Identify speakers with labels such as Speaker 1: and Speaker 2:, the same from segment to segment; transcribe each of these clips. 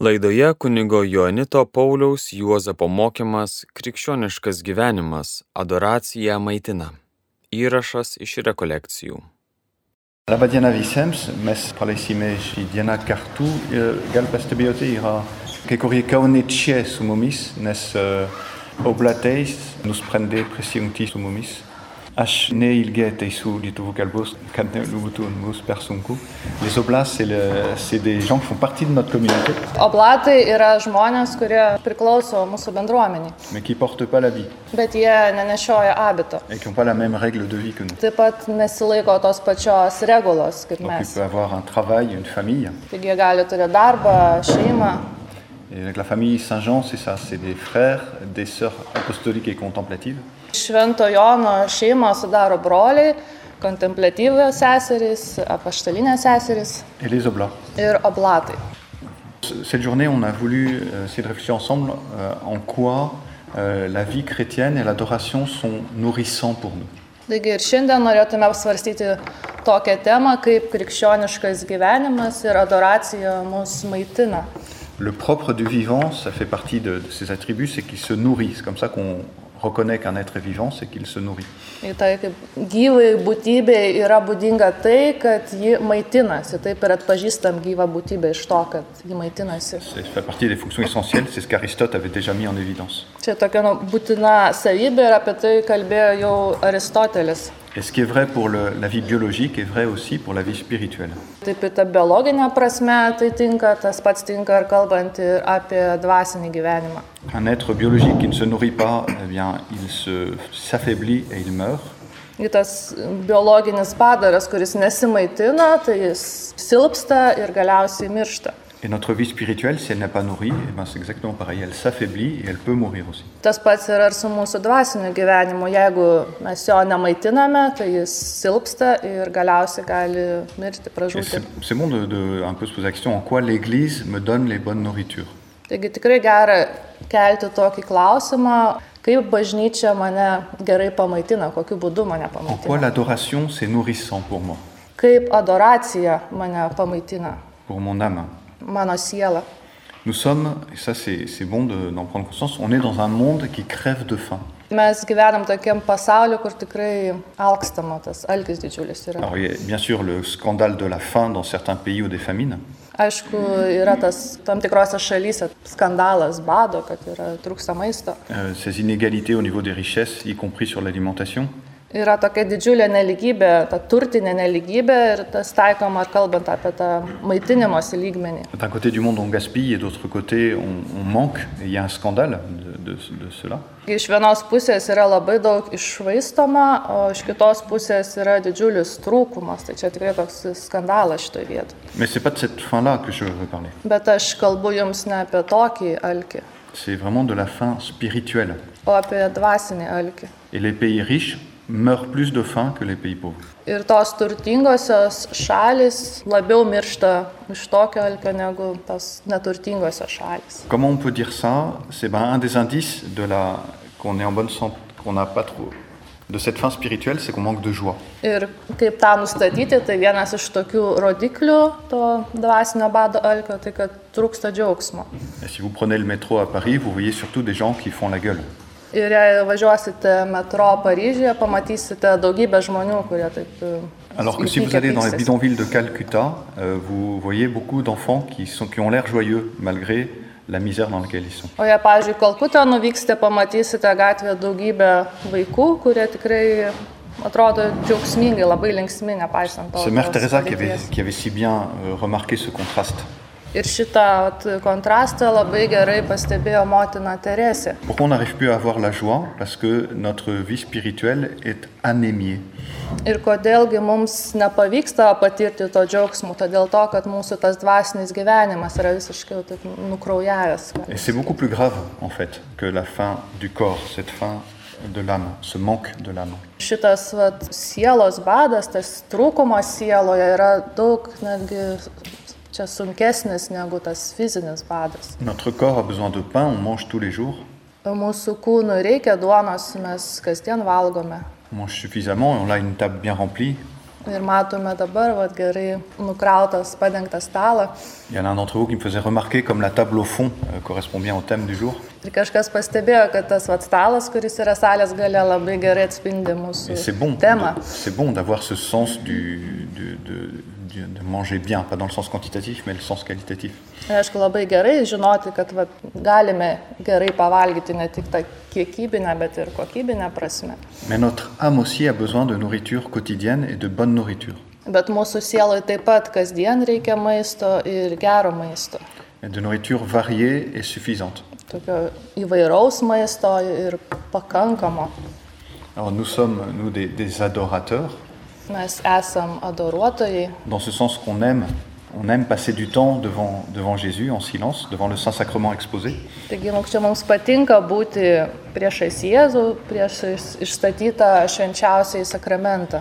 Speaker 1: laidoje kunigo joanito pauliaus juozapo mokymas krikščioniškas gyvenimas adoraciją maitina įrašas iš rekolekcijų
Speaker 2: Labą dieną visiems, mes paleisime šį dieną kartu ir gal pastebėjote, yra kai kurie kauniečiai su mumis, nes uh, oblateis nusprendė prisijungti su mumis. Aš neilgai ateisiu lietuvų kalbos, kad nebūtų mums per sunku. Les oblats, c'est le- c'est des gens qui font partie de notre communauté,
Speaker 3: Oblatai yra žmonės, kurie priklauso mūsų bendruomeniai,
Speaker 2: mais qui ne portent pas la vie
Speaker 3: bet jie nenešioja abito.
Speaker 2: et qui n'ont pas la même règle de vie que nous.
Speaker 3: Taip pat nesilaiko tos pačios regulos kaip
Speaker 2: Donc ils
Speaker 3: mes.
Speaker 2: peuvent avoir un travail, une famille.
Speaker 3: Taigi jie gali turėti darbą, šeimą.
Speaker 2: Et avec la famille Saint-Jean, c'est ça, c'est des frères, des sœurs apostoliques et contemplatives.
Speaker 3: Švento Jono šeimą sudaro broliai, kontemplatyvios seserys, apaštalinės seserys
Speaker 2: et les oblats.
Speaker 3: ir oblatai.
Speaker 2: C- Cette journée, on a voulu euh, essayer de réfléchir ensemble euh, en quoi euh, la vie chrétienne et l'adoration sont nourrissants pour nous.
Speaker 3: Taigi ir šiandien norėtume apsvarstyti tokią temą, kaip krikščioniškas gyvenimas ir adoracija mus maitina.
Speaker 2: Le propre du vivant, ça fait partie de, de ses attributs, c'est qu'il se nourrit. C'est comme ça qu'on reconnaît qu'un être est vivant, c'est qu'il se nourrit.
Speaker 3: Ir tai kaip gyvai būtybė yra būdinga tai, kad ji maitinasi. Taip ir atpažįstam gyvą būtybę iš to, kad ji maitinasi.
Speaker 2: Ça fait partie des fonctions essentielles, c'est ce qu'Aristote avait déjà mis en évidence.
Speaker 3: Čia tokia nu, būtina savybė ir apie tai kalbėjo jau Aristotelis.
Speaker 2: Et ce qui est vrai pour le- la vie biologique est vrai aussi pour la vie spirituelle.
Speaker 3: Taip ir ta biologinė prasme tai tinka, tas pats tinka ir kalbant ir apie dvasinį gyvenimą.
Speaker 2: Un être biologique qui ne se nourrit pas, eh bien, il se- s'affaiblit et il meurt.
Speaker 3: Ir tas biologinis padaras, kuris nesimaitina, tai jis silpsta ir galiausiai miršta.
Speaker 2: Et notre vie spirituelle, si elle n'est pas nourrie, eh ben, c'est exactement pareil. Elle s'affaiblit et elle peut mourir aussi.
Speaker 3: Tas pats yra ir su mūsų dvasiniu gyvenimu. Jeigu mes jo nemaitiname, tai jis silpsta ir galiausiai gali mirti,
Speaker 2: Et
Speaker 3: pražūti.
Speaker 2: c'est c'est bon de, de un peu se poser la question en quoi l'Église me donne les bonnes nourritures.
Speaker 3: Taigi tikrai gera kelti tokį klausimą, kaip bažnyčia mane gerai pamaitina, kokiu būdu mane
Speaker 2: En quoi
Speaker 3: pamaitina.
Speaker 2: l'adoration, c'est nourrissant pour moi,
Speaker 3: Kaip adoracija mane pamaitina,
Speaker 2: pour mon âme.
Speaker 3: mano sielą.
Speaker 2: Nous sommes, et ça c'est c'est bon de- d'en prendre conscience, on est dans un monde qui crève de faim.
Speaker 3: Mes gyvenam tokiam pasauliu, kur tikrai alkstama tas alkis didžiulis yra.
Speaker 2: Alors il y a bien sûr le scandale de la faim dans certains pays ou des famines,
Speaker 3: Aišku, yra tas tam tikrose šalyse skandalas bado, kad yra trūksta maisto.
Speaker 2: euh, ces inégalités au niveau des richesses, y compris sur l'alimentation.
Speaker 3: Yra tokia didžiulė neligybė, ta turtinė neligybė ir tas taikoma, ar kalbant apie tą maitinimosi lygmenį.
Speaker 2: D'un côté du monde, on gaspille et d'autre côté, on, on manque. Et il y a un scandale de, de- de cela.
Speaker 3: Iš vienos pusės yra labai daug išvaistoma, o iš kitos pusės yra didžiulis trūkumas. Tai čia tikrai toks skandalas šitoje vietoje.
Speaker 2: Mais c'est pas de cette faim-là que je veux parler.
Speaker 3: Bet aš kalbu jums ne apie tokį alkį,
Speaker 2: C'est vraiment de la faim spirituelle.
Speaker 3: o apie dvasinį alkį.
Speaker 2: Et les pays riches meurent plus de faim que les pays pauvres.
Speaker 3: Ir tos turtingosios šalis labiau miršta iš tokio alkio negu tos neturtingosios šalis.
Speaker 2: Comment on peut dire ça C'est ben un des indices de la qu'on est en bonne santé, qu'on n'a pas trop de cette faim spirituelle, c'est qu'on manque de joie.
Speaker 3: Ir kaip tą nustatyti, tai vienas iš tokių rodiklių to dvasinio bado alkio, tai kad trūksta džiaugsmo.
Speaker 2: Et si vous prenez le métro à Paris, vous voyez surtout des gens qui font la gueule.
Speaker 3: Ir jei važiuosite metro Paryžiuje, pamatysite daugybę žmonių, kurie taip... e,
Speaker 2: Alors que si vous
Speaker 3: įpykę
Speaker 2: allez dans les
Speaker 3: pykstasi.
Speaker 2: bidonvilles de Calcutta, euh, vous voyez beaucoup d'enfants qui, sont, qui ont l'air joyeux malgré la misère dans laquelle ils sont.
Speaker 3: O jei, pavyzdžiui, Kalkutą nuvyksite, pamatysite gatvėje daugybę vaikų, kurie tikrai atrodo džiaugsmingai, labai linksmi, nepaisant to.
Speaker 2: C'est Mère
Speaker 3: tos
Speaker 2: Teresa qui avait,
Speaker 3: padėties.
Speaker 2: qui avait si bien euh, remarqué ce contraste.
Speaker 3: Ir šitą vat, kontrastą labai gerai pastebėjo motina Teresė.
Speaker 2: Pourquoi on n'arrive plus à avoir la joie Parce que notre vie spirituelle est anémiée.
Speaker 3: Ir kodėlgi mums nepavyksta patirti to džiaugsmo, todėl to, kad mūsų tas dvasinis gyvenimas yra visiškai jau taip nukraujavęs.
Speaker 2: Et c'est beaucoup plus grave, en fait, que la faim du corps, cette faim de l'âme, ce manque de l'âme.
Speaker 3: Šitas vat, sielos badas, tas trūkumas sieloje yra daug netgi čia sunkesnis negu tas fizinis badas.
Speaker 2: Notre corps a besoin de pain, on mange tous les jours,
Speaker 3: Mūsų kūnui reikia duonos, mes kasdien valgome.
Speaker 2: on mange suffisamment et on a une table bien remplie.
Speaker 3: Ir matome dabar, vad gerai nukrautas, padengtas stalą.
Speaker 2: Il y en a un d'entre vous qui me faisait remarquer comme la table au fond euh, correspond bien au thème du jour.
Speaker 3: Ir kažkas pastebėjo, kad tas vad stalas, kuris yra salės gale, labai gerai atspindi
Speaker 2: Et
Speaker 3: mūsų
Speaker 2: c'est bon.
Speaker 3: temą.
Speaker 2: de- C'est bon d'avoir ce sens du, du- de- du- de manger bien, pas dans le sens quantitatif, mais le sens qualitatif.
Speaker 3: Ir aišku, labai gerai žinoti, kad vat, galime gerai pavalgyti ne tik tą kiekybinę, bet ir kokybinę prasme.
Speaker 2: Mais notre âme aussi a besoin de nourriture quotidienne et de bonne nourriture,
Speaker 3: Bet mūsų sieloje taip pat kasdien reikia maisto ir gero maisto.
Speaker 2: et de nourriture variée et suffisante.
Speaker 3: Tokio įvairaus maisto ir pakankamo.
Speaker 2: Alors nous sommes, nous, des, des adorateurs,
Speaker 3: Mes esam adoruotojai,
Speaker 2: dans ce sens qu'on aime, on aime passer du temps devant, devant Jésus en silence, devant le Saint-Sacrement exposé.
Speaker 3: taigi mums čia mums patinka būti priešais Jėzų, priešais išstatytą švenčiausiai sakramentą.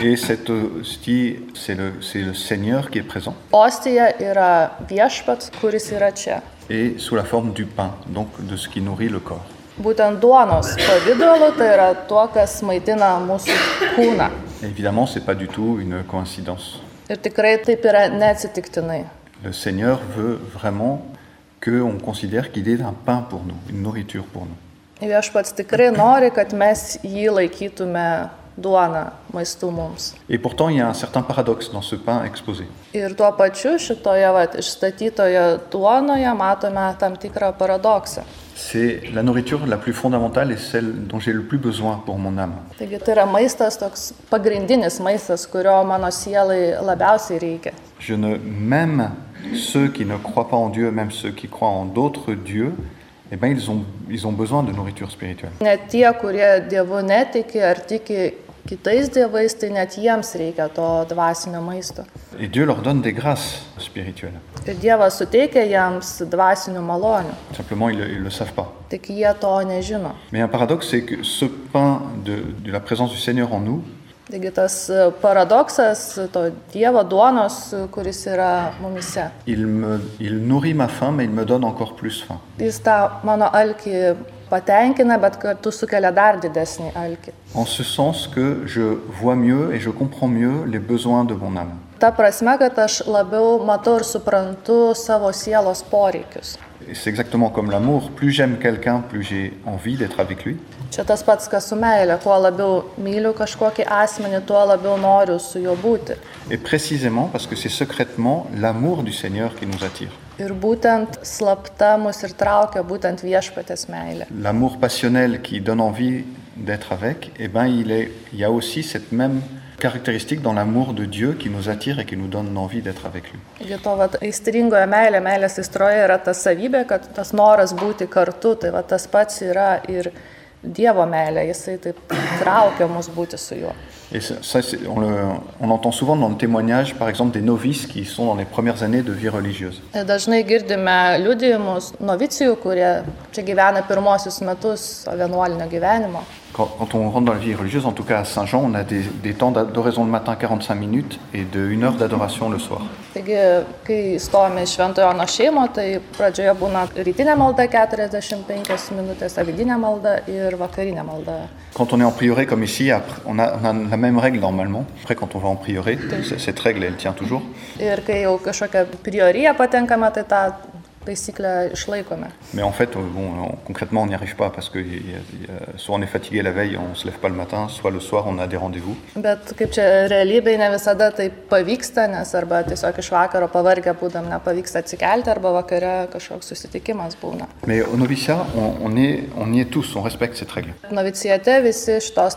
Speaker 2: Et cette hostie, c'est le, c'est le Seigneur qui est présent,
Speaker 3: Ostija yra viešpats, kuris yra čia.
Speaker 2: et sous la forme du pain, donc de ce qui nourrit le corps.
Speaker 3: Būtent duonos pavydalu tai yra tuo, kas maitina mūsų kūną.
Speaker 2: Et évidemment, ce n'est pas du tout une coïncidence.
Speaker 3: Ir tikrai taip yra neatsitiktinai.
Speaker 2: Le Seigneur veut vraiment qu'on considère qu'il est un pain pour nous, une nourriture pour nous.
Speaker 3: Viešpats tikrai nori, kad mes jį laikytume duona maistu mums.
Speaker 2: Et pourtant, il y a un certain paradoxe dans ce pain exposé.
Speaker 3: Ir tuo pačiu šitoje vat, išstatytoje duonoje matome tam tikrą paradoksą.
Speaker 2: C'est la nourriture la plus fondamentale et celle dont j'ai le plus besoin pour mon âme.
Speaker 3: Taigi tai yra maistas, toks pagrindinis maistas, kurio mano sielai labiausiai reikia.
Speaker 2: Je ne même ceux qui ne croient pas en Dieu, même ceux qui croient en d'autres dieux, eh ben ils ont, ils ont besoin de nourriture spirituelle.
Speaker 3: Net tie, kurie dievų netiki ar tiki kitais dievais, tai net jiems reikia to dvasinio maisto.
Speaker 2: Et Dieu leur donne des grâces spirituelles.
Speaker 3: Ir Dievas suteikia jiems dvasinių malonių,
Speaker 2: Simplement, ils ne le savent pas.
Speaker 3: tik jie to nežino.
Speaker 2: Mais un paradoxe, c'est que ce pain de, de la présence du Seigneur en nous,
Speaker 3: Taigi tas paradoksas to Dievo duonos, kuris yra mumise.
Speaker 2: il, me, il nourrit ma faim, mais il me donne encore plus faim.
Speaker 3: Jis tą mano alkį patenkina, bet kartu sukelia dar didesnį alkį.
Speaker 2: En ce sens que je vois mieux et je comprends mieux les besoins de mon âme.
Speaker 3: Ta prasme, kad aš labiau matau ir suprantu savo sielos poreikius.
Speaker 2: Et C'est exactement comme l'amour. Plus j'aime quelqu'un, plus j'ai envie d'être avec lui.
Speaker 3: Čia tas pats, kas su meilė. Kuo labiau myliu kažkokį asmenį, tuo labiau noriu su juo būti.
Speaker 2: Et précisément parce que c'est secrètement l'amour du Seigneur qui nous attire.
Speaker 3: Ir būtent slapta mus ir traukia būtent viešpatės meilė.
Speaker 2: L'amour passionnel qui donne envie d'être avec, eh ben, il, est, il y a aussi cette même caractéristique dans l'amour de Dieu qui nous attire et qui nous donne envie d'être avec lui.
Speaker 3: Taigi to vat, aistringoje meilė, meilės istroje yra ta savybė, kad tas noras būti kartu, tai vat, tas pats yra ir Dievo meilė, jisai taip traukia mus būti su juo.
Speaker 2: Et ça, ça, c'est- on, le- on l'entend souvent dans le témoignage, par exemple, des novices qui sont dans les premières années de vie religieuse.
Speaker 3: Ir Dažnai girdime liudijimus novicijų, kurie čia gyvena pirmosius metus to vienuolinio gyvenimo.
Speaker 2: Quand, quand on rentre dans la vie religieuse, en tout cas à Saint-Jean, on a des, des temps d'adoration le matin 45 minutes et de 1 heure d'adoration le soir.
Speaker 3: Taigi, kai stovime iš Šventojo Jono šeimo, tai pradžioje būna rytinė malda 45 minutės, avidinė malda ir vakarinė malda.
Speaker 2: Quand on est en prieuré comme ici, après- on a, on a la même règle normalement. Après, quand on va en prieuré, c- cette règle, elle tient toujours.
Speaker 3: Ir kai jau kažkokią prioriją patenkame, tai tą taisyklę išlaikome.
Speaker 2: Mais en fait, euh, bon, on- concrètement, on n'y arrive pas parce que il y a- il y a- soit on est fatigué la veille, on se lève pas le matin, soit le soir, on a des rendez-vous.
Speaker 3: Bet kaip čia realybėje ne visada tai pavyksta, nes arba tiesiog iš vakaro pavargę būdam nepavyksta atsikelti, arba vakare kažkoks susitikimas būna.
Speaker 2: Mais au noviciat, on, on est, on y est tous, on respecte cette règle.
Speaker 3: Novicijate visi šitos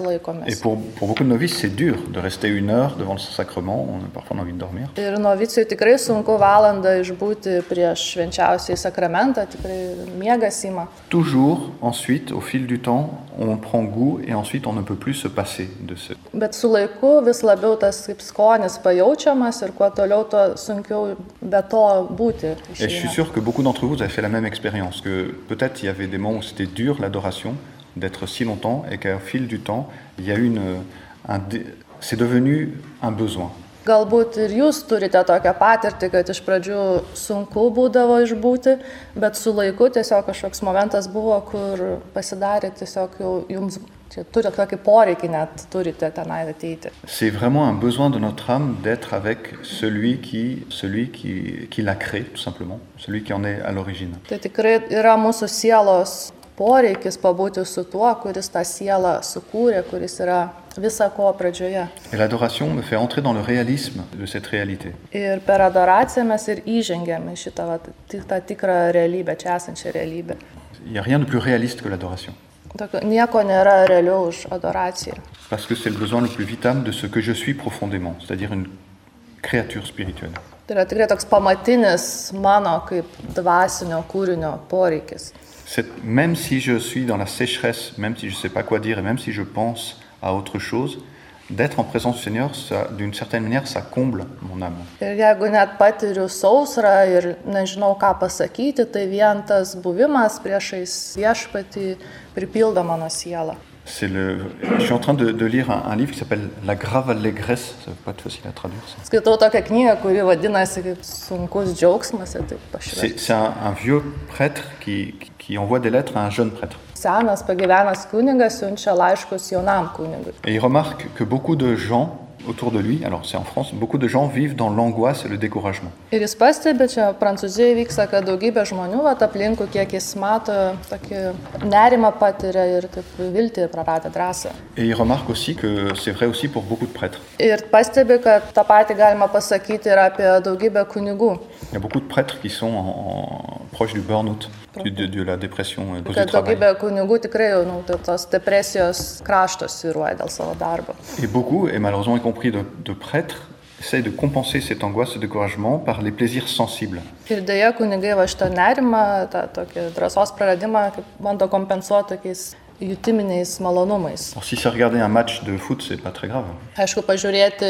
Speaker 2: Et
Speaker 3: laikomės.
Speaker 2: pour, pour beaucoup de novices, c'est dur de rester une heure devant le sacrement. On a parfois envie de dormir.
Speaker 3: Ir novicijui tikrai sunku valandą išbūti prieš švenčiausiai sakramentą, tikrai miegas įma.
Speaker 2: Toujours, ensuite, au fil du temps, on prend goût et ensuite on ne peut plus se passer de ce.
Speaker 3: Bet su laiku vis labiau tas kaip skonis pajaučiamas ir kuo toliau, tuo sunkiau be to būti.
Speaker 2: Et je suis
Speaker 3: išeina.
Speaker 2: sûr que beaucoup d'entre vous avez fait la même expérience, que peut-être il y avait des moments où c'était dur l'adoration, d'être si longtemps, et qu'au fil du temps, il y a eu une, un dé- c'est devenu un besoin.
Speaker 3: Galbūt ir jūs turite tokią patirtį, kad iš pradžių sunku būdavo išbūti, bet su laiku tiesiog kažkoks momentas buvo, kur pasidarė tiesiog jau jums Čia turi tokį poreikį net turite tenai ateiti.
Speaker 2: C'est vraiment un besoin de notre âme d'être avec celui qui, celui qui, qui l'a créé, tout simplement, celui qui en est à l'origine.
Speaker 3: Tai tikrai yra mūsų sielos poreikis pabūti su tuo, kuris tą sielą sukūrė, kuris yra visa ko pradžioje.
Speaker 2: Et l'adoration me fait entrer dans le réalisme de cette réalité.
Speaker 3: Ir per adoraciją mes ir įžengėme šitą va, ti- tą tikrą realybę, čia esančią realybę.
Speaker 2: Il n'y a rien de plus réaliste que l'adoration.
Speaker 3: Tokio, nieko nėra realiau už adoraciją.
Speaker 2: Parce que c'est le besoin le plus vital de ce que je suis profondément, c'est-à-dire une créature spirituelle.
Speaker 3: Tai yra tikrai toks pamatinis mano kaip dvasinio kūrinio poreikis.
Speaker 2: Cette- même si je suis dans la sécheresse, même si je ne sais pas quoi dire et même si je pense à autre chose, d'être en présence du Seigneur, ça- d'une certaine manière, ça comble mon âme.
Speaker 3: Ir jeigu net patiriu sausrą ir nežinau, ką pasakyti, tai vien tas buvimas priešais viešpatį pripildo mano sielą.
Speaker 2: C'est le... Je suis en train de, de lire un, un livre qui s'appelle La grave allégresse. Ça va pas être facile à traduire. ça.
Speaker 3: Skaitau tokią knygą, kuri vadinasi kaip sunkus džiaugsmas ir taip pašventė.
Speaker 2: C'est c'est un, un vieux prêtre qui, qui- qui envoie des lettres à un jeune prêtre.
Speaker 3: Senas pagyvenęs kunigas siunčia laiškus jaunam kunigui.
Speaker 2: Et il remarque que beaucoup de gens autour de lui, alors c'est en France, beaucoup de gens vivent dans l'angoisse et le découragement.
Speaker 3: Ir jis pastebi, čia Prancūzijoje vyksta, kad daugybė žmonių, va, aplinkų, kiek jis mato, tokį nerimą patiria ir taip viltį ir praradę drąsą.
Speaker 2: Et il remarque aussi que c'est vrai aussi pour beaucoup de prêtres.
Speaker 3: Ir pastebi, kad tą patį galima pasakyti ir apie daugybę kunigų.
Speaker 2: Il y a beaucoup de prêtres qui sont en- en- proches du burn-out, du- de, de la dépression et du
Speaker 3: Kad
Speaker 2: travail.
Speaker 3: daugybė kunigų tikrai jau nu, tai tos depresijos kraštos sviruoja dėl savo darbo.
Speaker 2: Et beaucoup, et malheureusement y compris de, de prêtres, essayent de compenser cette angoisse, ce découragement par les plaisirs sensibles.
Speaker 3: Ir dėja, kunigai va šitą nerimą, tą tokį drąsos praradimą kaip bando kompensuoti tokiais jutiminiais malonumais.
Speaker 2: Alors si c'est regarder un match de foot, c'est pas très grave.
Speaker 3: Aišku, pažiūrėti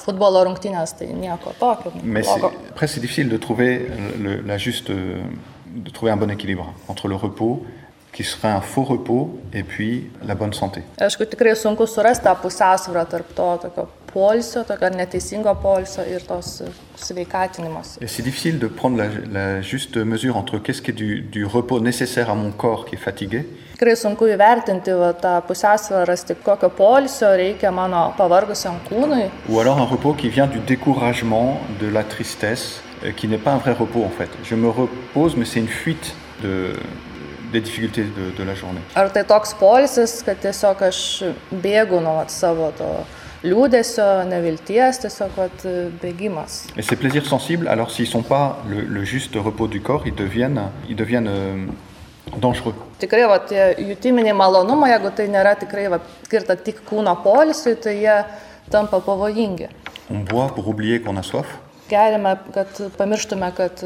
Speaker 3: futbolo rungtynės, tai nieko tokio.
Speaker 2: Mais c'est-
Speaker 3: blogo.
Speaker 2: après, c'est difficile de trouver le- la juste, euh, de trouver un bon équilibre entre le repos, qui serait un faux repos, et puis la bonne santé.
Speaker 3: Aišku, tikrai sunku surasti tą pusiausvyrą tarp to tokio polsio, tokio neteisingo polsio ir tos sveikatinimuose.
Speaker 2: Et c'est difficile de prendre la, la juste mesure entre qu'est-ce qui est du, du repos nécessaire à mon corps qui est fatigué,
Speaker 3: Tikrai sunku įvertinti va, tą pusiausvyrą, rasti kokio polsio reikia mano pavargusiam kūnui.
Speaker 2: ou alors un repos qui vient du découragement, de la tristesse, euh, qui n'est pas un vrai repos en fait. Je me repose, mais c'est une fuite de, des difficultés de, de la journée.
Speaker 3: Ar tai toks polsis, kad tiesiog aš bėgu nuo vat savo to liūdėsio, nevilties, tiesiog vat, bėgimas.
Speaker 2: Et ces plaisirs sensibles, alors s'ils ne sont pas le, le juste repos du corps, ils deviennent, ils deviennent euh, dangereux.
Speaker 3: Tikrai, va, tie jutiminiai malonumai, jeigu tai nėra tikrai va, skirta tik kūno polisui, tai jie tampa pavojingi.
Speaker 2: On boit pour oublier qu'on a soif,
Speaker 3: Gerime, kad pamirštume, kad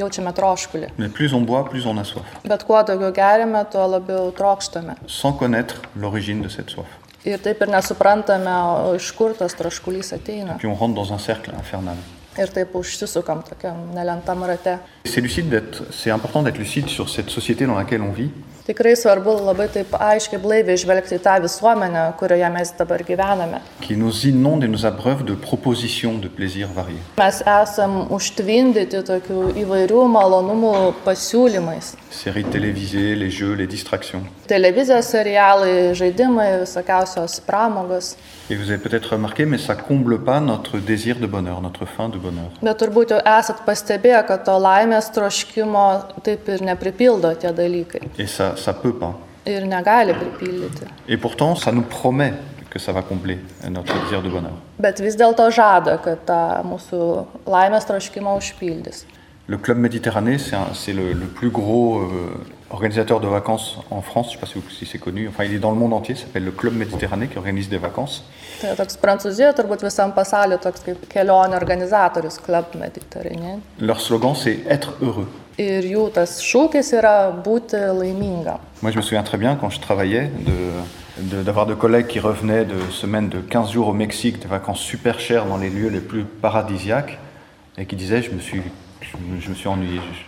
Speaker 3: jaučiame troškulį.
Speaker 2: mais plus on boit, plus on a soif,
Speaker 3: Bet kuo daugiau gerime, tuo labiau trokštame.
Speaker 2: sans connaître l'origine de cette soif.
Speaker 3: Ir taip ir nesuprantame, o iš kur tas troškulys ateina.
Speaker 2: Puis on rentre dans un cercle infernal.
Speaker 3: Ir taip užsisukam tokiam nelentam rate.
Speaker 2: C'est lucide d'être, c'est important d'être lucide sur cette société dans laquelle on vit,
Speaker 3: Tikrai svarbu labai taip aiškiai blaiviai žvelgti į tą visuomenę, kurioje mes dabar gyvename.
Speaker 2: qui nous inonde et nous abreuve de propositions de plaisirs variés.
Speaker 3: Mes esam užtvindyti tokių įvairių malonumų pasiūlymais.
Speaker 2: Séries télévisées, les jeux, les distractions.
Speaker 3: Televizijos serialai, žaidimai, visokiausios pramogos.
Speaker 2: Et vous avez peut-être remarqué, mais ça comble pas notre désir de bonheur, notre faim de bonheur.
Speaker 3: Bet turbūt jau esat pastebėję, kad to laimės troškimo taip ir nepripildo tie dalykai.
Speaker 2: Et ça, ça peut pas.
Speaker 3: Ir negali pripildyti.
Speaker 2: Et pourtant, ça nous promet que ça va combler notre désir de bonheur.
Speaker 3: Bet vis dėlto žada, kad tą mūsų laimės troškimą užpildys.
Speaker 2: Le Club Méditerranée, c'est un- c'est le, le plus gros euh, organisateur de vacances en France. Je ne sais pas si, vous- si c'est connu. Enfin, il est dans le monde entier. Ça s'appelle le Club Méditerranée qui organise des vacances.
Speaker 3: Tai toks Prancūzijoje turbūt visam pasauliu toks kaip kelionių organizatorius Club Mediterranean.
Speaker 2: Leur slogan, c'est être heureux.
Speaker 3: Ir jų tas šūkis yra būti laimingam.
Speaker 2: Moi, je me souviens très bien quand je travaillais de- de- d'avoir de, collègues qui revenaient de semaines de 15 jours au Mexique, des vacances super chères dans les lieux les plus paradisiaques, et qui disaient je me suis, je, me- je me suis ennuyé, je,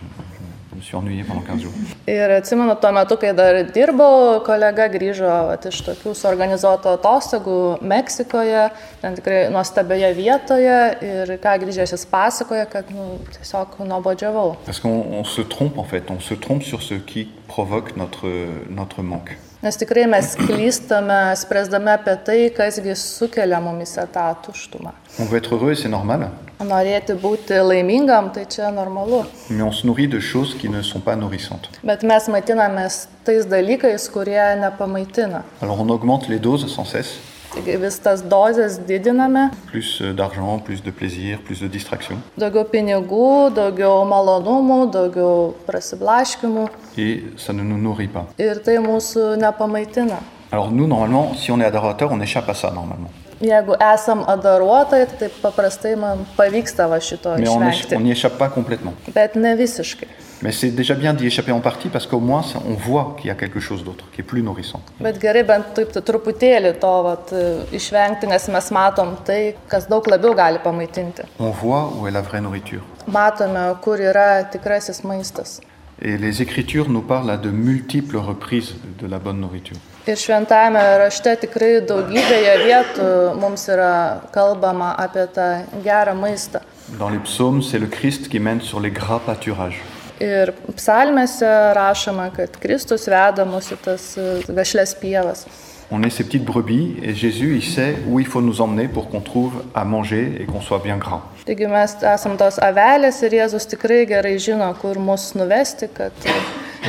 Speaker 2: je me suis ennuyé pendant 15 jours.
Speaker 3: Ir atsimenu, tuo metu, kai dar dirbau, kolega grįžo vat, iš tokių suorganizuotų atostogų Meksikoje, ten tikrai nuostabioje vietoje ir ką grįžęs jis pasakoja, kad nu, tiesiog nuobodžiavau.
Speaker 2: Parce qu'on on se trompe en fait, on se trompe sur ce qui provoque notre, notre manque.
Speaker 3: Nes tikrai mes klystame, spręsdami apie tai, kasgi sukelia mumise tą tuštumą.
Speaker 2: On veut être heureux, c'est normal,
Speaker 3: Norėti būti laimingam, tai čia normalu.
Speaker 2: mais on se nourrit de choses qui ne sont pas nourrissantes.
Speaker 3: Bet mes maitinamės tais dalykais, kurie nepamaitina.
Speaker 2: Alors on augmente les doses sans cesse.
Speaker 3: Taigi vis tas dozes didiname,
Speaker 2: Plus euh, d'argent, plus de plaisir, plus de distraction.
Speaker 3: daugiau pinigų, daugiau malonumų, daugiau prasiblaškimų
Speaker 2: Et ça ne nous nourrit pas.
Speaker 3: ir tai mūsų nepamaitina.
Speaker 2: Alors nous, normalement, si on est adorateur, on échappe à ça, normalement.
Speaker 3: Jeigu esam adaruotai, tai paprastai man pavyksta va šito
Speaker 2: Mais on éch- on
Speaker 3: išvengti.
Speaker 2: n'y échappe pas complètement.
Speaker 3: Bet ne visiškai.
Speaker 2: Mais c'est déjà bien d'y échapper en partie parce qu'au moins, ça- on voit qu'il y a quelque chose d'autre, qui est plus nourrissant.
Speaker 3: Bet gerai bent taip tu- truputėlį to vat, e, išvengti, nes mes matom tai, kas daug labiau gali pamaitinti.
Speaker 2: On voit où est la vraie nourriture.
Speaker 3: Matome, kur yra tikrasis maistas.
Speaker 2: Et les Écritures nous parlent à de multiples reprises de la bonne nourriture.
Speaker 3: Ir šventajame rašte tikrai daugybėje vietų mums yra kalbama apie tą gerą maistą.
Speaker 2: Dans les psaumes, c'est le Christ qui mène sur les gras pâturages.
Speaker 3: Ir psalmėse rašoma, kad Kristus veda mus į tas e, vešles pievas.
Speaker 2: On est ces petites brebis et Jésus, il sait où il faut nous emmener pour qu'on trouve à manger et qu'on soit bien gras.
Speaker 3: Taigi mes esam tos avelės ir Jėzus tikrai gerai žino, kur mus nuvesti, kad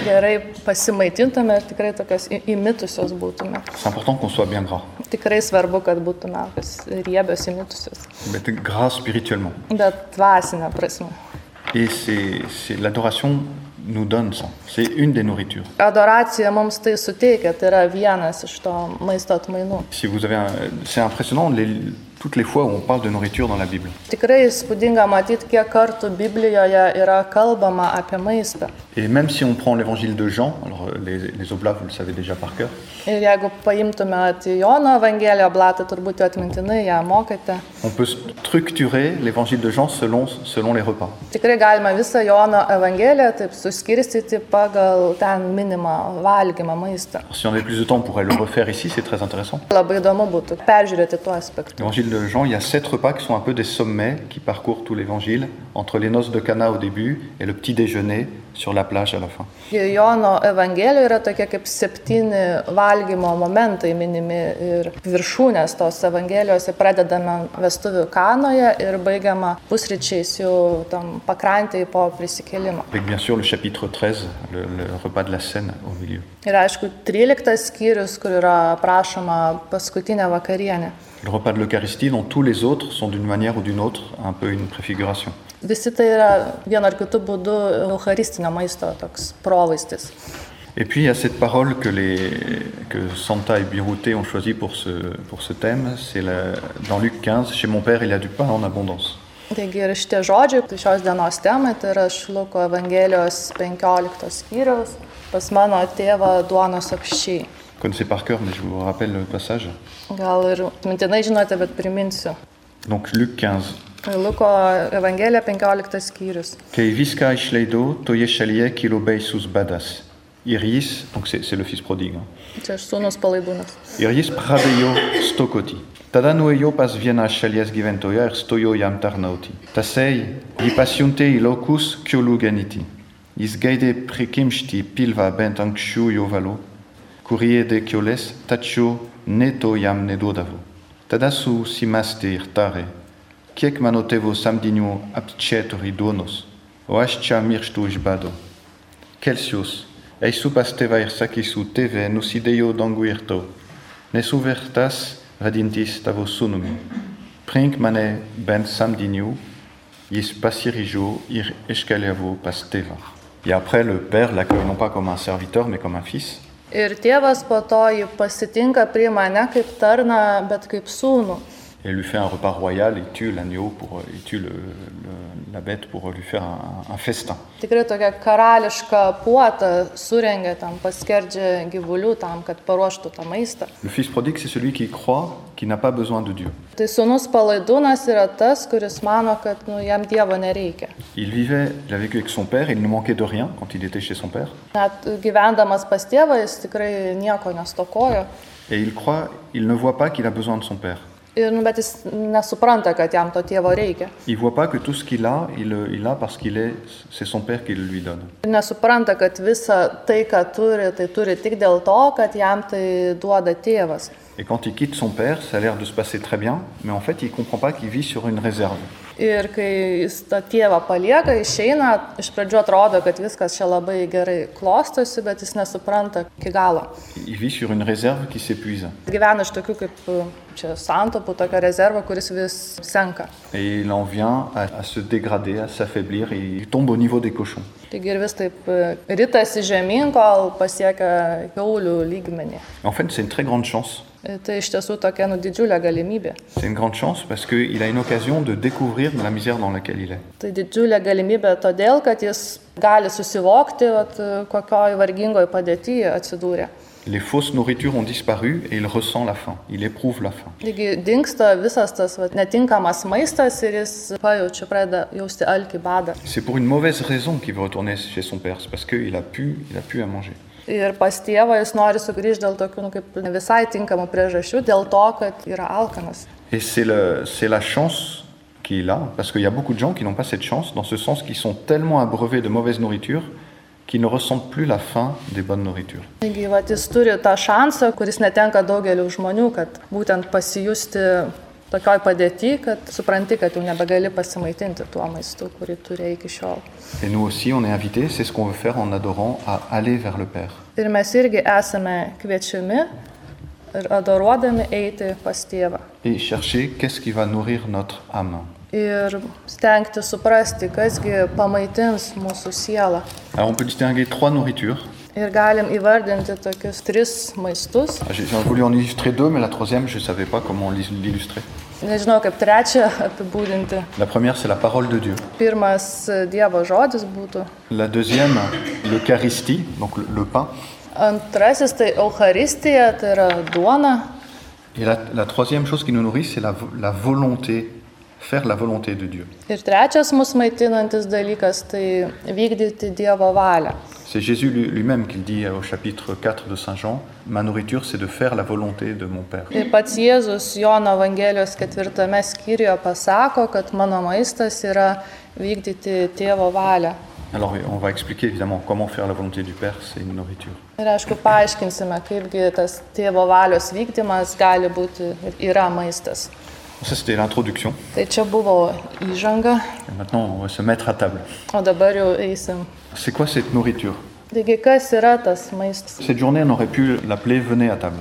Speaker 3: gerai pasimaitintume ir tikrai tokios i- įmitusios būtume.
Speaker 2: C'est important qu'on soit bien gras,
Speaker 3: Tikrai svarbu, kad būtume tokios riebios įmitusios,
Speaker 2: mais gras spirituellement.
Speaker 3: bet dvasinė prasme.
Speaker 2: Et c'est c'est- l'adoration nous donne ça. C'est une des nourritures.
Speaker 3: Adoracija mums tai suteikia, tai yra vienas iš to maisto atmainų.
Speaker 2: Si vous avez, un- c'est impressionnant les- toutes les fois où on parle de nourriture dans la Bible.
Speaker 3: Tikrai įspūdinga matyti, kiek kartų Biblijoje yra kalbama apie maistą.
Speaker 2: Et même si on prend l'évangile de Jean, alors euh, les, les oblats, vous le savez déjà par cœur,
Speaker 3: Ir jeigu paimtume at Jono Evangeliją, blatą turbūt jau atmintinai ją mokate,
Speaker 2: on peut structurer l'évangile de Jean selon, selon les repas.
Speaker 3: tikrai galima visą Jono Evangeliją taip suskirstyti pagal ten minimą valgymą maistą.
Speaker 2: Alors, si on avait plus de temps, on pourrait le refaire ici, c'est très intéressant.
Speaker 3: Labai įdomu būtų peržiūrėti tuo aspektu.
Speaker 2: L'évangile de Jean, il y a sept repas qui sont un peu des sommets qui parcourent tout l'évangile, entre les noces de Cana au début et le petit déjeuner sur la plage à la fin.
Speaker 3: Jono Evangelijoje yra tokie kaip septyni valgymo momentai minimi ir viršūnės tos Evangelijos pradedame vestuvių kanoje ir baigiama pusryčiais jau tam pakrantėje po prisikėlimo.
Speaker 2: Avec bien sûr le chapitre 13, le, le repas de la Seine au milieu.
Speaker 3: Ir aišku, 13 skyrius, kur yra prašoma paskutinė vakarienė.
Speaker 2: Le repas de l'Eucharistie, dont tous les autres sont d'une manière ou d'une autre un peu une préfiguration.
Speaker 3: Visi tai yra vienu ar kitu būdu eucharistinio maisto toks provaistis.
Speaker 2: Et puis il y a cette parole que, les, que Santa et Birouté ont choisi pour ce, pour ce thème, c'est la- dans Luc 15, chez mon père il y a du pain en abondance.
Speaker 3: Taigi ir šitie žodžiai tai šios dienos temai, tai yra Šluko Evangelijos 15 skyriaus, pas mano tėvą duonos apšiai.
Speaker 2: Vous connaissez par cœur, mais je vous rappelle le passage.
Speaker 3: Gal ir mintinai žinote, bet priminsiu. Tai
Speaker 2: Donc Luc 15.
Speaker 3: Luko Evangelija 15 skyrius.
Speaker 2: Kei visca išleido, toje šalyje kilo beisus badas. Iris, donc c'est c'est le fils prodigue. hein.
Speaker 3: Čia aš sūnus palaidūnas.
Speaker 2: Iris pradejo stokoti. Tada nuejo pas vienas šalies gyventoja ir stojo jam tarnauti. Tasei, jį pasiuntė į laukus kiolų ganyti. Jis gaidė prikimšti pilvą bent anksčiau jo valo, kurie de kiolės, tačiau neto jam neduodavo. Tada susimastė ir tarė, kiek mano tėvo samdinių apčetori duonos, o aš čia mirštu iš bado. Kelsius, eisu pas teva ir sakisu teve nusideo danguirto, nesu vertas radintis tavo sunumi. Prink mane ben samdiniu, jis pasirijo ir escaleavo pas teva. Et après, le père l'accueille non pas comme un serviteur, mais comme un fils.
Speaker 3: Ir tėvas po to jį pasitinka prie mane kaip tarna, bet kaip sūnų.
Speaker 2: Et lui fait un repas royal, il tue l'agneau, pour, il tue le- le- la bête pour lui faire un- un festin.
Speaker 3: Tikrai tokia karališka puota surengia tam, paskerdžia gyvulių tam, kad paruoštų tą maistą.
Speaker 2: Le fils prodigue, c'est celui qui croit qu'il n'a pas besoin de Dieu.
Speaker 3: Tai sunus palaidūnas yra tas, kuris mano, kad nu, jam Dievo nereikia.
Speaker 2: Il vivait, il a vécu avec son père, il ne manquait de rien quand il était chez son père.
Speaker 3: Net gyvendamas pas tėvą jis tikrai nieko nestokojo
Speaker 2: Et il croit, il ne voit pas qu'il a besoin de son père.
Speaker 3: Ir, nu, bet jis nesupranta, kad jam to tėvo reikia.
Speaker 2: Il voit pas que tout ce qu'il a, il le- il l'a parce qu'il est, c'est son père qui le lui donne.
Speaker 3: Ir nesupranta, kad visa tai, ką turi, tai turi tik dėl to, kad jam tai duoda tėvas.
Speaker 2: Et quand il quitte son père, ça a l'air de se passer très bien, mais en fait, il comprend pas qu'il vit sur une réserve.
Speaker 3: Ir kai jis tą tėvą palieka, išeina, iš pradžių atrodo, kad viskas čia labai gerai klostosi, bet jis nesupranta iki galo.
Speaker 2: Il vit sur une réserve qui s'épuise.
Speaker 3: Gyvena iš tokių kaip čia santopų, tokio rezervo, kuris vis senka.
Speaker 2: Et il en vient à, à se dégrader, à s'affaiblir, et il tombe au niveau des cochons.
Speaker 3: Taigi ir vis taip e, ritasi žemyn, kol pasiekia jaulių lygmenį.
Speaker 2: En fait, c'est une très grande chance.
Speaker 3: Ir Tai iš tiesų tokia nu, didžiulė galimybė.
Speaker 2: C'est une grande chance parce qu'il a une occasion de découvrir la misère dans laquelle il est.
Speaker 3: Tai didžiulė galimybė todėl, kad jis gali susivokti, vat, e, kokioj vargingoj padėtyje atsidūrė.
Speaker 2: Les fausses nourritures ont disparu et il ressent la faim. Il éprouve la faim.
Speaker 3: Taigi dinksta visas tas vat, netinkamas maistas ir jis pajaučia, pradeda jausti alkį badą.
Speaker 2: C'est pour une mauvaise raison qu'il veut retourner chez son père, c'est parce qu'il a pu, il a pu à manger.
Speaker 3: Ir pas tėvą jis nori sugrįžti dėl tokių nu, kaip ne visai tinkamų priežasčių, dėl to, kad yra alkanas.
Speaker 2: Et c'est le- c'est la chance qu'il a, parce qu'il y a beaucoup de gens qui n'ont pas cette chance, dans ce sens qu'ils sont tellement abreuvés de mauvaise nourriture qu'ils ne ressentent plus la faim des bonnes nourritures.
Speaker 3: Taigi vat, jis turi tą šansą, kuris netenka daugeliu žmonių, kad būtent pasijusti tokioj padėti, kad supranti, kad jau nebegali pasimaitinti tuo maistu, kurį turėjai iki šiol.
Speaker 2: Et nous aussi, on est invités, c'est ce qu'on veut faire en adorant, à aller vers le Père.
Speaker 3: Ir mes irgi esame kviečiami ir adoruodami eiti pas tėvą.
Speaker 2: Et chercher qu'est-ce qui va nourrir notre âme.
Speaker 3: ir stengti suprasti, kasgi pamaitins mūsų sielą.
Speaker 2: Alors on peut distinguer trois nourritures.
Speaker 3: Ir galim įvardinti tokius tris maistus.
Speaker 2: Ah, J'ai j'ai voulu en illustrer deux, mais la troisième, je ne savais pas comment l'is- l'illustrer.
Speaker 3: Nežinau, kaip trečią apibūdinti.
Speaker 2: La première, c'est la parole de Dieu.
Speaker 3: Pirmas e, Dievo žodis būtų.
Speaker 2: La deuxième, l'Eucharistie, donc le- le pain.
Speaker 3: Antrasis tai Euharistija, tai yra duona.
Speaker 2: Et la, la troisième chose qui nous nourrit, c'est la, vo- la volonté, faire la volonté de Dieu.
Speaker 3: Ir trečias mus maitinantis dalykas tai vykdyti Dievo valią.
Speaker 2: C'est Jésus lui- lui-même qui le dit euh, au chapitre 4 de Saint Jean, Ma nourriture, c'est de faire la volonté de mon Père.
Speaker 3: Ir Tai pats Jėzus Jono Evangelijos ketvirtame skyriuje pasako, kad mano maistas yra vykdyti tėvo valią.
Speaker 2: Alors on va expliquer évidemment comment faire la volonté du Père, c'est une nourriture.
Speaker 3: Ir aišku, paaiškinsime, kaipgi tas tėvo valios vykdymas gali būti ir yra maistas.
Speaker 2: Ça c'était l'introduction.
Speaker 3: Tai čia buvo įžanga,
Speaker 2: Et maintenant on va se mettre à table.
Speaker 3: o dabar jau eisim.
Speaker 2: C'est quoi cette nourriture
Speaker 3: Taigi, kas yra tas maistas?
Speaker 2: Cette journée on aurait pu l'appeler Venez à table.